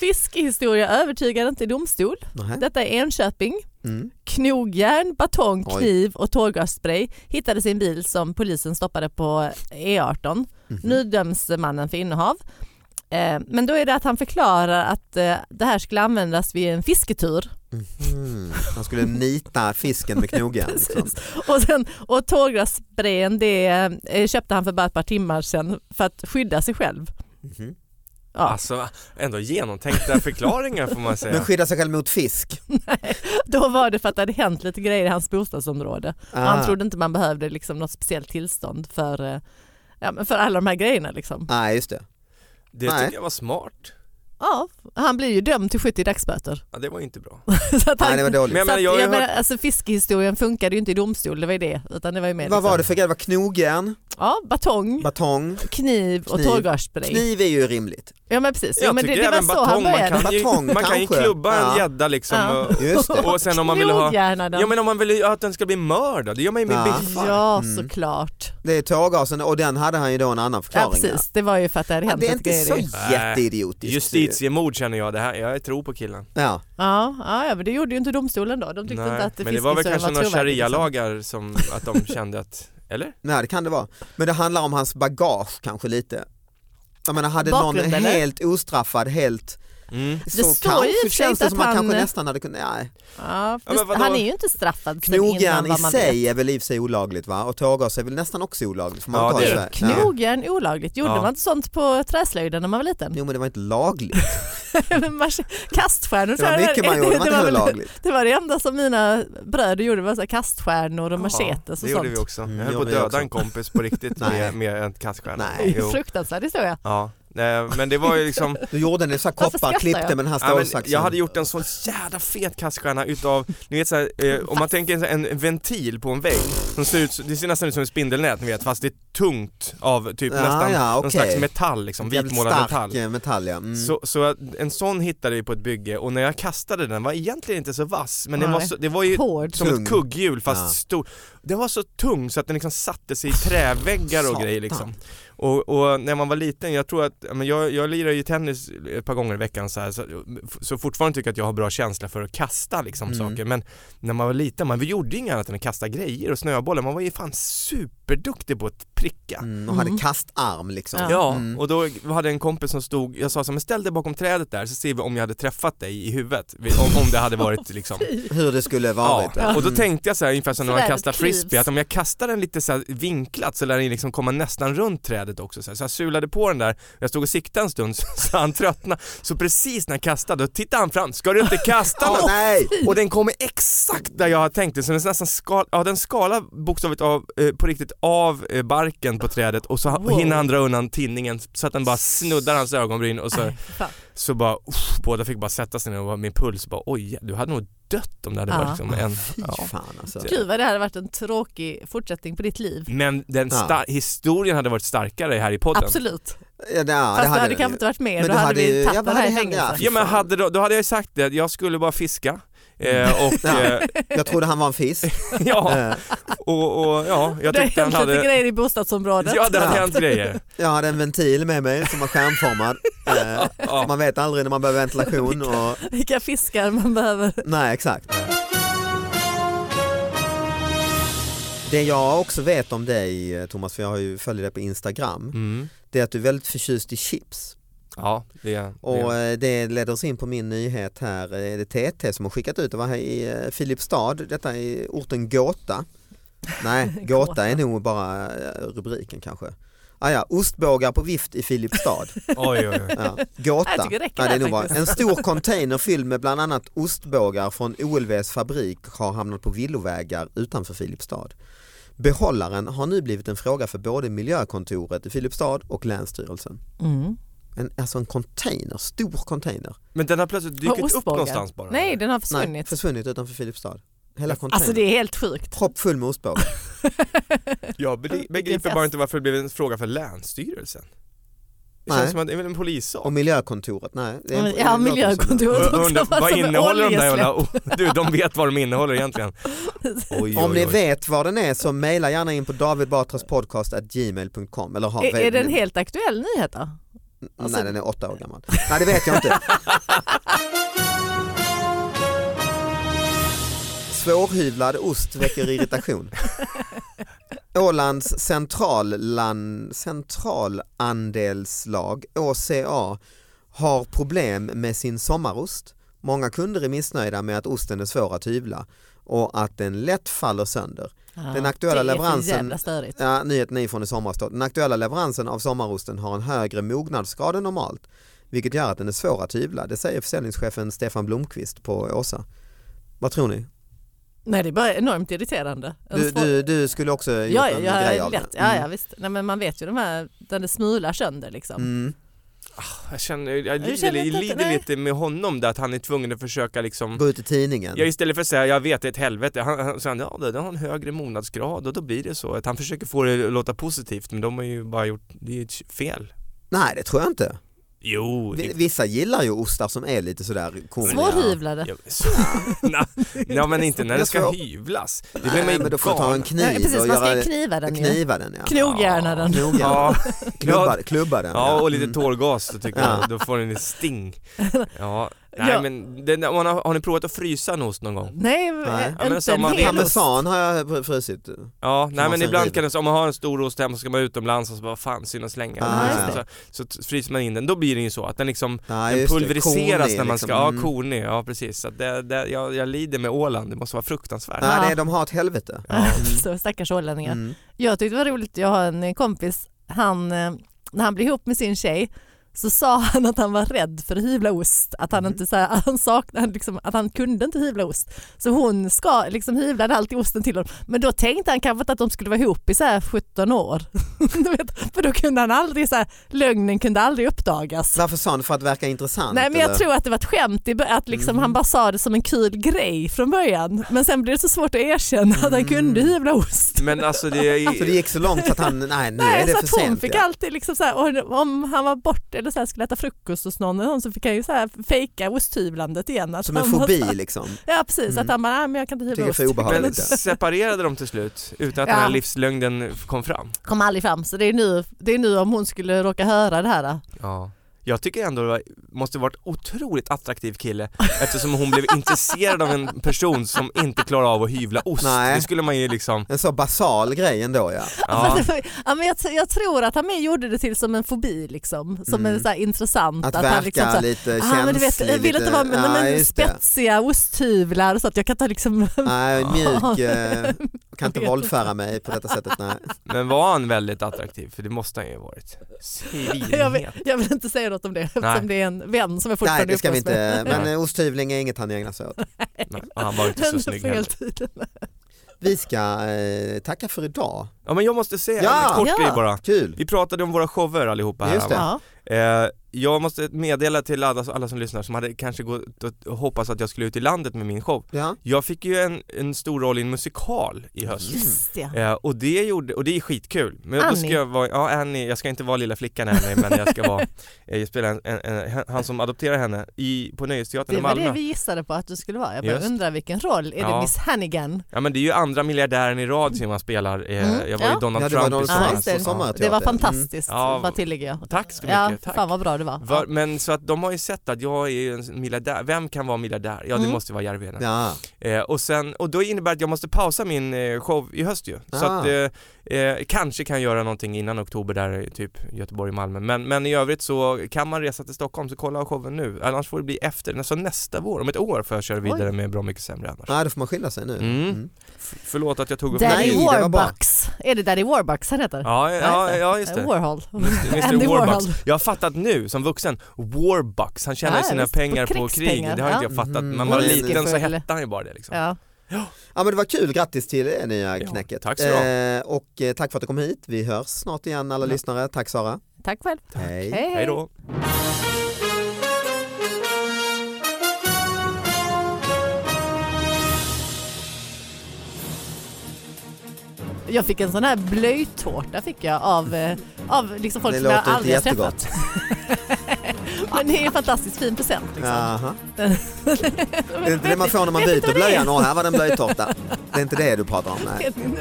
Speaker 4: Fiskehistoria övertygar inte i domstol.
Speaker 2: Nej.
Speaker 4: Detta är Enköping.
Speaker 2: Mm.
Speaker 4: Knogjärn, batong,
Speaker 2: Oj.
Speaker 4: kniv och tårgasspray hittades i en bil som polisen stoppade på E E18.
Speaker 2: Mhm.
Speaker 4: Nu döms mannen för innehav. Eh, men då är det att han förklarar att eh, det här skulle användas vid en fisketur.
Speaker 2: Mhm. Man skulle nita fisken med knogjärn. Liksom.
Speaker 4: Precis. Och, sen, och tårgassprayen det eh, köpte han för bara ett par timmar sedan för att skydda sig själv.
Speaker 2: Mhm.
Speaker 4: Ja,
Speaker 3: Alltså ändå genomtänkta förklaringar får man
Speaker 2: Men
Speaker 3: säga.
Speaker 2: skydda sig själv mot fisk?
Speaker 4: då var det för att det hade hänt lite grejer i hans bostadsområde. Och
Speaker 2: Ah.
Speaker 4: Han trodde inte man behövde liksom något speciellt tillstånd för, eh, ja, men för alla de här grejerna. Liksom.
Speaker 2: Nej, just det.
Speaker 3: Det
Speaker 2: Nej.
Speaker 3: tycker jag var smart.
Speaker 4: Ja, han blir ju dömd till 70 dagsböter. (laughs)
Speaker 3: Ja, det var inte bra.
Speaker 4: Så att
Speaker 2: Nej,
Speaker 4: han,
Speaker 2: det var dåligt.
Speaker 3: Men jag
Speaker 4: så
Speaker 3: menar,
Speaker 4: att,
Speaker 3: jag har ju
Speaker 4: jag
Speaker 3: hört,
Speaker 4: menar, alltså, fiskehistorien funkade ju inte i domstol, det var ju det. Utan det var ju mer,
Speaker 2: Vad
Speaker 4: liksom-
Speaker 2: var det för grej? Det var knogjärn,
Speaker 4: Ja, batong,
Speaker 2: batong,
Speaker 4: kniv och
Speaker 2: Kniv.
Speaker 4: tårgasspray.
Speaker 2: kniv är ju rimligt.
Speaker 4: Ja men precis, jo,
Speaker 3: jag
Speaker 4: men det,
Speaker 3: tycker
Speaker 4: det var
Speaker 3: även
Speaker 4: så han
Speaker 3: batong, man
Speaker 4: började.
Speaker 3: kan, ju,
Speaker 2: Batong,
Speaker 3: man kan ju
Speaker 2: kanske.
Speaker 3: klubba
Speaker 2: Ja.
Speaker 3: en gädda liksom.
Speaker 4: Ja.
Speaker 3: och-
Speaker 2: Just det.
Speaker 3: Och sen om man vill ha,
Speaker 4: Knogjärna då.
Speaker 3: ja men om man vill ju att den ska bli mördad, det gör man ju med
Speaker 2: Ja.
Speaker 3: biffar.
Speaker 4: Ja,
Speaker 2: Mm.
Speaker 4: såklart.
Speaker 2: Det är tårgasen och den hade han ju då en annan
Speaker 4: Ja,
Speaker 2: förklaring. där.
Speaker 4: precis. Det var ju för att det hade
Speaker 2: Ja,
Speaker 4: hänt
Speaker 2: det är inte
Speaker 4: lite grejer.
Speaker 2: så
Speaker 4: i-
Speaker 2: jätteidiotiskt.
Speaker 3: Justitiemord känner jag det här, jag tror på killen.
Speaker 2: Ja.
Speaker 4: Ja, ja, ja, men det gjorde ju inte domstolen då. De tyckte inte att
Speaker 3: men det var väl
Speaker 4: fiskehistorien
Speaker 3: kanske några
Speaker 4: trovärdig,
Speaker 3: sharia-lagar
Speaker 4: liksom.
Speaker 3: som att
Speaker 4: (laughs)
Speaker 3: de kände att, eller?
Speaker 2: Nej det kan det vara. Men det handlar om hans bagage kanske lite. Jag menar hade någon
Speaker 4: Bakgrunden, eller?
Speaker 2: helt ostraffad, helt
Speaker 3: Mm.
Speaker 2: så
Speaker 4: står ju i och
Speaker 2: kanske
Speaker 4: för sig
Speaker 2: känns det
Speaker 4: att
Speaker 2: som att han
Speaker 4: han-
Speaker 2: kanske nästan hade kunnat, nej.
Speaker 4: Ja,
Speaker 3: men
Speaker 4: visst,
Speaker 3: vadå?
Speaker 4: han är ju inte straffad sen innan
Speaker 2: Knogjärn i
Speaker 4: vad man vet.
Speaker 2: sig är väl i och för sig olagligt va? Och tårgas är väl nästan också olagligt? Får man
Speaker 3: Ja,
Speaker 2: ta
Speaker 3: det
Speaker 2: i
Speaker 3: är
Speaker 2: Sverige? Nej.
Speaker 4: Knogjärn olagligt, gjorde
Speaker 3: Ja.
Speaker 4: man inte sånt på träslöjden när man var liten?
Speaker 2: Jo men det var inte lagligt.
Speaker 4: (laughs)
Speaker 2: (laughs)
Speaker 4: kaststjärnor
Speaker 2: Det var
Speaker 4: tror jag
Speaker 2: mycket
Speaker 4: (laughs)
Speaker 2: man gjorde,
Speaker 4: det
Speaker 2: men
Speaker 4: var
Speaker 2: inte
Speaker 4: väl-
Speaker 2: lagligt.
Speaker 4: Det var det enda som mina bröder gjorde, var så här kaststjärnor och machetes
Speaker 3: det
Speaker 4: och
Speaker 3: gjorde vi
Speaker 4: sånt.
Speaker 3: också.
Speaker 2: Mm,
Speaker 3: Jag höll på
Speaker 2: gjorde
Speaker 3: att
Speaker 2: vi
Speaker 3: döda
Speaker 2: också.
Speaker 3: en kompis på (laughs) riktigt
Speaker 2: Nej.
Speaker 3: med, med en kaststjärna.
Speaker 2: Nej.
Speaker 3: Jo.
Speaker 4: (laughs) Fruktansvärd historia.
Speaker 3: Ja, nej, men det var ju (laughs) liksom
Speaker 2: Du gjorde en så här koppar,
Speaker 4: Varför skrattar
Speaker 2: klippte
Speaker 4: jag?
Speaker 2: med den här
Speaker 3: Ja, men
Speaker 2: stålsaxen.
Speaker 3: jag hade gjort en sån jävla fet kaststjärna utav, ni vet såhär, eh, om man tänker så här, en ventil på en vägg som ser ut, det ser nästan ut som ett spindelnät ni vet fast det är tungt av typ
Speaker 2: Ja,
Speaker 3: nästan
Speaker 2: ja,
Speaker 3: någon
Speaker 2: okej.
Speaker 3: slags metall liksom,
Speaker 2: Jävligt
Speaker 3: vitmålad
Speaker 2: stark
Speaker 3: metall.
Speaker 2: eh, metall ja. Mm.
Speaker 3: Så, så jag- en sån hittade vi på ett bygge och när jag kastade den var egentligen inte så vass men den var,
Speaker 4: Nej.
Speaker 3: så, det var ju
Speaker 4: Hård.
Speaker 3: som
Speaker 2: Tung.
Speaker 3: ett kugghjul fast
Speaker 2: Ja.
Speaker 3: stor. Den var så tung så att den liksom satte sig i träväggar och grejer liksom.
Speaker 2: Satan.
Speaker 3: Och, och när man var liten, jag tror att, ja, men jag, jag lirar ju tennis ett par gånger i veckan så, här, så, så fortfarande tycker jag att jag har bra känsla för att kasta liksom
Speaker 2: Mm.
Speaker 3: saker men när man var liten, man vi gjorde inget annat än att kasta grejer och snöbollar, man var ju fan superduktig på att pricka.
Speaker 2: Mm, och hade
Speaker 4: Mm.
Speaker 2: kastarm liksom.
Speaker 4: Ja.
Speaker 3: Ja,
Speaker 2: Mm.
Speaker 3: och då hade jag en kompis som stod, jag sa så här, men ställ dig bakom trädet där så ser vi om jag hade träffat dig i huvudet, om, om det hade varit
Speaker 4: (laughs)
Speaker 3: liksom
Speaker 2: Hur det skulle varit.
Speaker 3: Ja. Och då
Speaker 2: Mm.
Speaker 3: tänkte jag så här, ungefär som när
Speaker 4: Så
Speaker 3: man
Speaker 4: där,
Speaker 3: kastar
Speaker 4: det klyvs.
Speaker 3: frisbee, att om jag kastar den lite så här vinklat så lär den liksom komma nästan runt trädet också. Så, här. så jag sulade på den där, jag stod och siktade en stund (laughs) så, så han tröttnade. Så precis när jag kastade, då tittade han fram, ska du inte kasta
Speaker 2: Åh,
Speaker 3: något?
Speaker 2: nej!
Speaker 3: Och den kommer exakt där jag har tänkt det, så den nästan skal, ja, den skalar bokstavligt av, eh, på riktigt av eh, barken på trädet och så ha-
Speaker 4: Wow.
Speaker 3: hinner han dra undan tinningen så att den bara snuddar hans ögonbryn och så,
Speaker 4: Nej, fan.
Speaker 3: så bara, uff, båda fick bara sätta sig ner och min puls bara oj, du hade nog dött om det hade
Speaker 4: Ja.
Speaker 3: varit liksom en...
Speaker 2: Fy
Speaker 3: Ja.
Speaker 2: fan alltså.
Speaker 4: Gud vad det hade varit en tråkig fortsättning på ditt liv.
Speaker 3: Men den
Speaker 2: Ja.
Speaker 3: sta- historien hade varit starkare här i podden.
Speaker 4: Absolut.
Speaker 2: Ja, det, ja,
Speaker 4: Fast
Speaker 2: det hade
Speaker 4: du hade, hade
Speaker 2: den
Speaker 4: kanske
Speaker 2: ju.
Speaker 4: inte varit med,
Speaker 2: Men
Speaker 4: då
Speaker 2: du
Speaker 4: hade
Speaker 2: hade ju-
Speaker 4: vi
Speaker 2: ja,
Speaker 4: tagit
Speaker 2: vad
Speaker 4: den här i
Speaker 2: hade hänt?
Speaker 4: fängelse.
Speaker 3: Ja men hade då, då hade jag ju sagt det, jag skulle bara fiska
Speaker 4: Mm.
Speaker 3: eh,
Speaker 4: (laughs)
Speaker 3: och, eh,
Speaker 2: Jag trodde han var en fisk.
Speaker 3: (laughs) ja,
Speaker 2: Eh,
Speaker 3: och, och ja, jag
Speaker 4: det har
Speaker 3: tyckte han
Speaker 4: hänt lite
Speaker 3: hade,
Speaker 4: grejer i bostadsområdet.
Speaker 3: ja det hade
Speaker 2: Ja.
Speaker 3: hänt grejer.
Speaker 2: Jag hade en ventil med mig som var skärmformad. Eh,
Speaker 3: (laughs) Ja.
Speaker 2: Man vet aldrig när man behöver
Speaker 3: (laughs)
Speaker 2: ventilation. Och...
Speaker 4: (laughs) Vilka fiskar man behöver.
Speaker 2: Nej, exakt. Det jag också vet om dig eh, Thomas, för jag har ju följer dig på Instagram,
Speaker 3: Mm.
Speaker 2: det är att du är väldigt förtjust i chips.
Speaker 3: Ja, det, det.
Speaker 2: Och eh, det leder oss in på min nyhet här. Eh, Det är TT som har skickat ut, det var här i eh, Filipstad, detta i orten Gåta.
Speaker 3: (laughs)
Speaker 2: Nej, Gåta är nog bara eh, rubriken kanske. Ah ja, ostbågar på vift i Filipstad.
Speaker 3: oj, oj, oj.
Speaker 2: Ja. Gåta.
Speaker 4: Jag tycker det räcker
Speaker 2: Ja, det är
Speaker 4: där
Speaker 2: nog bra.
Speaker 4: faktiskt.
Speaker 2: En stor container fylld med bland annat ostbågar från OLVs fabrik har hamnat på villovägar utanför Filipstad. Behållaren har nu blivit en fråga för både miljökontoret i Filipstad och Länsstyrelsen.
Speaker 4: Mm.
Speaker 2: En, alltså en container, stor container.
Speaker 3: Men den har plötsligt
Speaker 4: Har
Speaker 3: dykt upp
Speaker 4: ostbågar?
Speaker 3: någonstans bara.
Speaker 4: Nej den har
Speaker 2: Nej,
Speaker 4: försvunnit.
Speaker 2: försvunnit utanför Filipstad. Hela containern.
Speaker 4: Alltså det är helt sjukt.
Speaker 2: Proppfull med ostbågar.
Speaker 3: Jag be-
Speaker 4: Vilken
Speaker 3: begriper
Speaker 4: fest.
Speaker 3: bara inte varför det blev en fråga för Länsstyrelsen. Det
Speaker 2: Nej.
Speaker 3: känns som att det är väl en
Speaker 2: Och
Speaker 4: (laughs)
Speaker 3: polissak.
Speaker 2: miljökontoret, nej. det är en-
Speaker 4: Ja
Speaker 2: låter
Speaker 4: miljökontoret
Speaker 3: Jag
Speaker 4: också.
Speaker 3: Undrar,
Speaker 4: var
Speaker 3: vad
Speaker 4: som en
Speaker 3: innehåller de där
Speaker 4: oljesläpp.
Speaker 3: jävla, (laughs) du de vet vad de innehåller egentligen. Oj,
Speaker 2: som- Om ni
Speaker 3: oj, oj.
Speaker 2: vet vad den är så mejla gärna in på davidbatraspodcast.gmail.com eller ha
Speaker 4: Är, är det en helt aktuell nyhet då? Alltså-
Speaker 2: Nej den är åtta år gammal. Nej det vet jag inte. Svårhyvlad ost väcker irritation. Ålands centralland, centralandelslag, ÅCA, har problem med sin sommarost. Många kunder är missnöjda med att osten är svår att hyvla och att den lätt faller sönder.
Speaker 4: Ja,
Speaker 2: Den aktuella
Speaker 4: Det är för
Speaker 2: leveransen
Speaker 4: jävla störigt.
Speaker 2: Ja, nyheten är från i somras då. Den aktuella leveransen av sommarosten har en högre mognadsgrad än normalt, vilket gör att den är svår att hyvla. Det säger försäljningschefen Stefan Blomqvist på Åsa. Vad tror ni?
Speaker 4: Nej det är bara enormt irriterande. Alltså, En
Speaker 2: Du,
Speaker 4: svår-
Speaker 2: du, du skulle också gjort
Speaker 4: ja,
Speaker 2: en
Speaker 4: ja,
Speaker 2: grej
Speaker 4: ja,
Speaker 2: av det.
Speaker 4: lätt. Ja, ja, visst. Nej, men man vet ju de här, den det smular sönder liksom.
Speaker 2: Mm.
Speaker 3: Jag känner, jag
Speaker 4: Du
Speaker 3: lider,
Speaker 4: känner inte att-
Speaker 3: lider
Speaker 4: nej.
Speaker 3: lite med honom där att han är tvungen att försöka liksom
Speaker 2: Gå ut i tidningen.
Speaker 3: Ja, istället för att säga jag vet det är ett helvete, han, han, så han, ja, det- den har en högre mognadsgrad och då blir det så. Att han försöker få det att låta positivt men de har ju bara gjort, det är ju ett fel.
Speaker 2: Nej, det tror jag inte.
Speaker 3: Jo,
Speaker 2: Vi-
Speaker 3: det,
Speaker 2: Vissa gillar ju ostar som är lite sådär korniga.
Speaker 4: Svårhyvlade.
Speaker 3: ja, så, (laughs) na, na, men inte när det ska hyvlas. Det blir man
Speaker 2: Nej,
Speaker 3: ju
Speaker 2: men då får du ta en
Speaker 3: galen.
Speaker 2: kniv
Speaker 4: Ja, precis,
Speaker 2: och
Speaker 4: man ska ju
Speaker 2: göra,
Speaker 4: kniva den ju.
Speaker 2: kniva den. Ja.
Speaker 4: Knog gärna den.
Speaker 2: Knoga.
Speaker 3: Ja,
Speaker 2: Klubba, klubba den.
Speaker 3: ja, och
Speaker 2: Mm.
Speaker 3: lite tårgas då tycker
Speaker 2: Ja.
Speaker 3: jag, då får den ett sting. Ja, nej
Speaker 4: Ja.
Speaker 3: men, den, man har, har ni provat att frysa en ost någon gång?
Speaker 4: Nej,
Speaker 2: Nej.
Speaker 4: inte
Speaker 3: Ja, men alltså, om
Speaker 4: en
Speaker 3: man-
Speaker 4: hel ost.
Speaker 2: Parmesan har jag frusit.
Speaker 3: Ja, nej
Speaker 2: man
Speaker 3: men
Speaker 2: sen
Speaker 3: ibland
Speaker 2: river.
Speaker 3: kan det, om man har en stor ost hemma så ska man utomlands och så bara fan synd att slänga
Speaker 2: Ah,
Speaker 3: den.
Speaker 4: just
Speaker 3: så, så, så fryser man in den, då blir den ju så att den liksom
Speaker 2: Nej,
Speaker 3: den
Speaker 2: just det.
Speaker 3: pulveriseras
Speaker 2: Kornig,
Speaker 3: när man
Speaker 2: liksom.
Speaker 3: ska, ja
Speaker 2: Mm.
Speaker 3: konig, ja precis. Så att det, det, jag, jag lider med Åland, det måste vara fruktansvärt.
Speaker 2: Nej,
Speaker 4: Ja.
Speaker 2: det, de har ett helvete.
Speaker 4: (laughs) Så stackars ålänningar.
Speaker 2: Mm.
Speaker 4: Jag tyckte det var roligt, jag har en kompis, han, eh, när han blev ihop med sin tjej så sa (laughs) han att han var rädd för att hyvla ost, att han
Speaker 2: Mm.
Speaker 4: inte så här, (laughs) han saknade, han liksom, att han kunde inte hyvla ost. Så hon ska, liksom, hyvlade alltid osten till honom. Men då tänkte han kanske inte att de skulle vara ihop i så här 17 år. (laughs) du vet, för då kunde han aldrig, så här, lögnen kunde aldrig uppdagas.
Speaker 2: Varför sa han? För att verka intressant?
Speaker 4: Nej men jag
Speaker 2: eller?
Speaker 4: tror att det var ett skämt, i bör- att liksom
Speaker 2: Mm.
Speaker 4: han bara sa det som en kul grej från början. Men sen blev det så svårt att erkänna att
Speaker 2: Mm.
Speaker 4: han kunde hyvla ost.
Speaker 3: Men alltså det är
Speaker 2: Så det gick så långt så att han, nej nu
Speaker 4: (laughs) Nej,
Speaker 2: är det
Speaker 4: så
Speaker 2: för
Speaker 4: att hon
Speaker 2: sent.
Speaker 4: fick
Speaker 2: ja.
Speaker 4: alltid liksom så här, och om han var bort eller så här skulle äta frukost hos någon, eller någon så fick han ju så här fejka osthyvlandet igen. Att
Speaker 2: Som en
Speaker 4: han var så
Speaker 2: fobi
Speaker 4: här-
Speaker 2: liksom.
Speaker 4: Ja precis,
Speaker 2: Mm.
Speaker 4: att han bara, nej men jag kan inte
Speaker 2: Tycker
Speaker 4: hyvla
Speaker 2: det är
Speaker 4: ost.
Speaker 2: för obehagligt.
Speaker 3: men separerade de till slut utan att
Speaker 4: Ja.
Speaker 3: den här livslögnen kom fram?
Speaker 4: Kom aldrig fram, så det är, nu, det är nu om hon skulle råka höra det här. då.
Speaker 3: Ja. Jag tycker ändå det var, måste varit otroligt attraktiv kille eftersom hon blev intresserad av en person som inte klarar av att hyvla ost.
Speaker 2: Nej.
Speaker 3: Det skulle man ju liksom,
Speaker 2: En så basal grej ändå
Speaker 4: (laughs)
Speaker 2: ja.
Speaker 4: Ja.
Speaker 3: ja.
Speaker 4: men jag, jag tror att han mer gjorde det till som en fobi liksom, som
Speaker 2: Mm.
Speaker 4: en så här intressant.
Speaker 2: Att,
Speaker 4: han
Speaker 2: verka
Speaker 4: liksom så här,
Speaker 2: lite känslig.
Speaker 4: Ah, men du vet, jag vill inte
Speaker 2: lite-
Speaker 4: vara med
Speaker 2: ja,
Speaker 4: nej, men
Speaker 2: just det.
Speaker 4: spetsiga osthyvlar så att jag kan ta liksom... (laughs)
Speaker 2: Nej, mjuk, eh, kan inte
Speaker 4: vet
Speaker 2: våldföra mig på detta sättet. Nej.
Speaker 3: Men var han väldigt attraktiv? För det måste han ju ha varit. Svinhet.
Speaker 4: jag, vill, jag vill inte säga något om det eftersom det är en vän som jag (laughs) fortfarande
Speaker 2: Nej, det ska vi
Speaker 4: umgås med.
Speaker 2: inte. Men eh, osthyvling är inget han ägnar sig åt.
Speaker 3: Nej, och han var ju inte så
Speaker 4: Den
Speaker 3: snygg
Speaker 4: fel
Speaker 3: heller.
Speaker 4: tiden.
Speaker 2: Vi ska eh, tacka för idag.
Speaker 3: Ja men jag måste säga
Speaker 2: Ja.
Speaker 3: en kort
Speaker 4: Ja.
Speaker 3: grej bara.
Speaker 2: Kul.
Speaker 3: Vi pratade om våra shower allihopa här
Speaker 2: Just det.
Speaker 3: va?
Speaker 4: Ja.
Speaker 3: Eh, jag måste meddela till alla, alla som lyssnar som hade kanske gått och hoppats att jag skulle ut i landet med min show.
Speaker 2: Ja.
Speaker 3: Jag fick ju en, en stor roll i en musikal i höst.
Speaker 4: Just det.
Speaker 3: Eh, och det gjorde, och det är skitkul. Men då ska
Speaker 4: Mm. Annie.
Speaker 3: jag vara, ja Annie, jag ska inte vara lilla flickan Annie men jag ska
Speaker 4: (laughs)
Speaker 3: vara, eh, jag spelar en, en, en, han som adopterar henne i, på Nöjesteatern
Speaker 4: Det
Speaker 3: i
Speaker 4: var
Speaker 3: Malmö.
Speaker 4: det vi gissade på att du skulle vara. Jag bara
Speaker 3: Just.
Speaker 4: undrar vilken roll, är det
Speaker 3: Ja.
Speaker 4: Miss Hannigan?
Speaker 3: Ja men det är ju andra miljardären i rad som jag spelar, eh,
Speaker 4: Mm,
Speaker 3: jag var
Speaker 4: ja.
Speaker 3: ju Donald
Speaker 2: Ja, det var
Speaker 3: Trump
Speaker 2: Donald
Speaker 3: i
Speaker 2: Trump.
Speaker 3: sommar.
Speaker 4: just det.
Speaker 2: på sommarteater.
Speaker 4: det var fantastiskt,
Speaker 3: Mm. Ja.
Speaker 4: vad tillägger jag.
Speaker 3: Tack så mycket,
Speaker 4: Ja,
Speaker 3: tack.
Speaker 4: fan vad bra det var.
Speaker 3: Var, men så att de har ju sett att jag är ju en miljardär, vem kan vara miljardär? Ja det
Speaker 4: Mm.
Speaker 3: måste vara Järvheden.
Speaker 2: Ja.
Speaker 3: Eh, och, sen, och då innebär det att jag måste pausa min eh, show i höst ju. Så
Speaker 2: Ah.
Speaker 3: att eh, eh, kanske kan jag göra någonting innan oktober där eh, typ Göteborg, Malmö. Men, men i övrigt så kan man resa till Stockholm så kolla showen nu. Annars får det bli efter, alltså nästa vår, om ett år får jag köra vidare med Bra Mycket Sämre annars.
Speaker 2: ja, då får man skilja sig nu.
Speaker 3: Mm. F- förlåt att jag tog upp
Speaker 2: Nej,
Speaker 4: Daddy
Speaker 2: det var bra.
Speaker 4: Warbucks, är det Daddy Warbucks han heter?
Speaker 3: Ja, ja, ja just det. Mm.
Speaker 4: Warhol. (laughs) Andy
Speaker 3: Mr Warbucks.
Speaker 4: Warhol.
Speaker 3: Jag har fattat nu som vuxen, Warbucks, han tjänar
Speaker 4: Ja,
Speaker 3: ju sina
Speaker 4: visst, på
Speaker 3: pengar på, krig,
Speaker 4: krigspengar,
Speaker 3: det har
Speaker 4: ja.
Speaker 3: inte jag fattat.
Speaker 2: Mhm.
Speaker 3: Man var
Speaker 2: Whisky
Speaker 3: liten så
Speaker 4: full.
Speaker 3: hette han ju bara det liksom.
Speaker 4: Ja.
Speaker 2: Ja men det var kul, grattis till det nya
Speaker 3: Ja,
Speaker 2: knäcket.
Speaker 3: tack så du ha.
Speaker 2: eh, Och eh, tack för att du kom hit, vi hörs snart igen alla
Speaker 3: Ja.
Speaker 2: lyssnare. Tack Sara.
Speaker 4: Tack själv.
Speaker 2: Hej.
Speaker 3: Hej då.
Speaker 4: Jag fick en sån här blöjtårta fick jag av, eh, av liksom folk
Speaker 2: Det
Speaker 4: som jag
Speaker 2: låter inte
Speaker 4: aldrig har
Speaker 2: jättegott.
Speaker 4: träffat. (laughs) Men det är ju en fantastiskt fin present. Liksom.
Speaker 2: Jaha. (laughs) Det är inte det man får när man byter blöjan, åh här var den blöjtårta. Det är inte det du pratar om
Speaker 3: (laughs)
Speaker 2: nej.
Speaker 4: Nej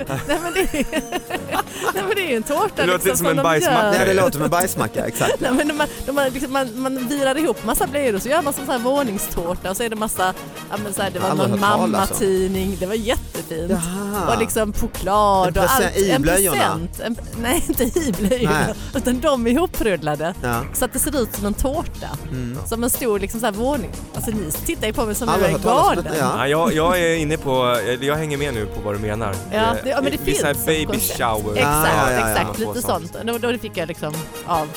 Speaker 4: men det är, nej, men det är ju en tårta
Speaker 3: Det låter
Speaker 4: liksom,
Speaker 3: som en
Speaker 4: de
Speaker 3: bajsmacka.
Speaker 4: gör.
Speaker 2: Nej det låter som en bajsmacka, exakt.
Speaker 4: (laughs) Nej, men de, man, de, man, liksom, man, man virar ihop massa blöjor och så gör man som så här våningstårta och så är det massa, ja, men så här, det var
Speaker 2: Aldrig
Speaker 4: någon
Speaker 2: hört talas om.
Speaker 4: mammatidning, det var jättefint. fint.
Speaker 2: Jaha.
Speaker 4: Och liksom choklad
Speaker 2: En
Speaker 4: och allt.
Speaker 2: present- i blöjorna?
Speaker 4: En, nej, inte i blöjorna.
Speaker 2: Nej.
Speaker 4: Utan de är ihoprullade.
Speaker 2: Ja.
Speaker 4: Så att det ser ut som en tårta.
Speaker 2: Mm.
Speaker 4: Som en stor liksom, så här, våning. Alltså ni tittar ju på mig som om
Speaker 2: Aldrig
Speaker 4: jag är
Speaker 2: hört talas om
Speaker 4: galen.
Speaker 2: detta, ja.
Speaker 3: Ja, jag, jag är inne på, eller jag hänger med nu på vad du menar.
Speaker 4: Ja, det- ja, men det
Speaker 3: är så här
Speaker 4: finns
Speaker 3: baby
Speaker 4: koncept.
Speaker 3: shower.
Speaker 2: Ah,
Speaker 4: Exakt,
Speaker 2: ja, ja, ja.
Speaker 4: exakt. Lite sånt. Och Då, då fick jag liksom av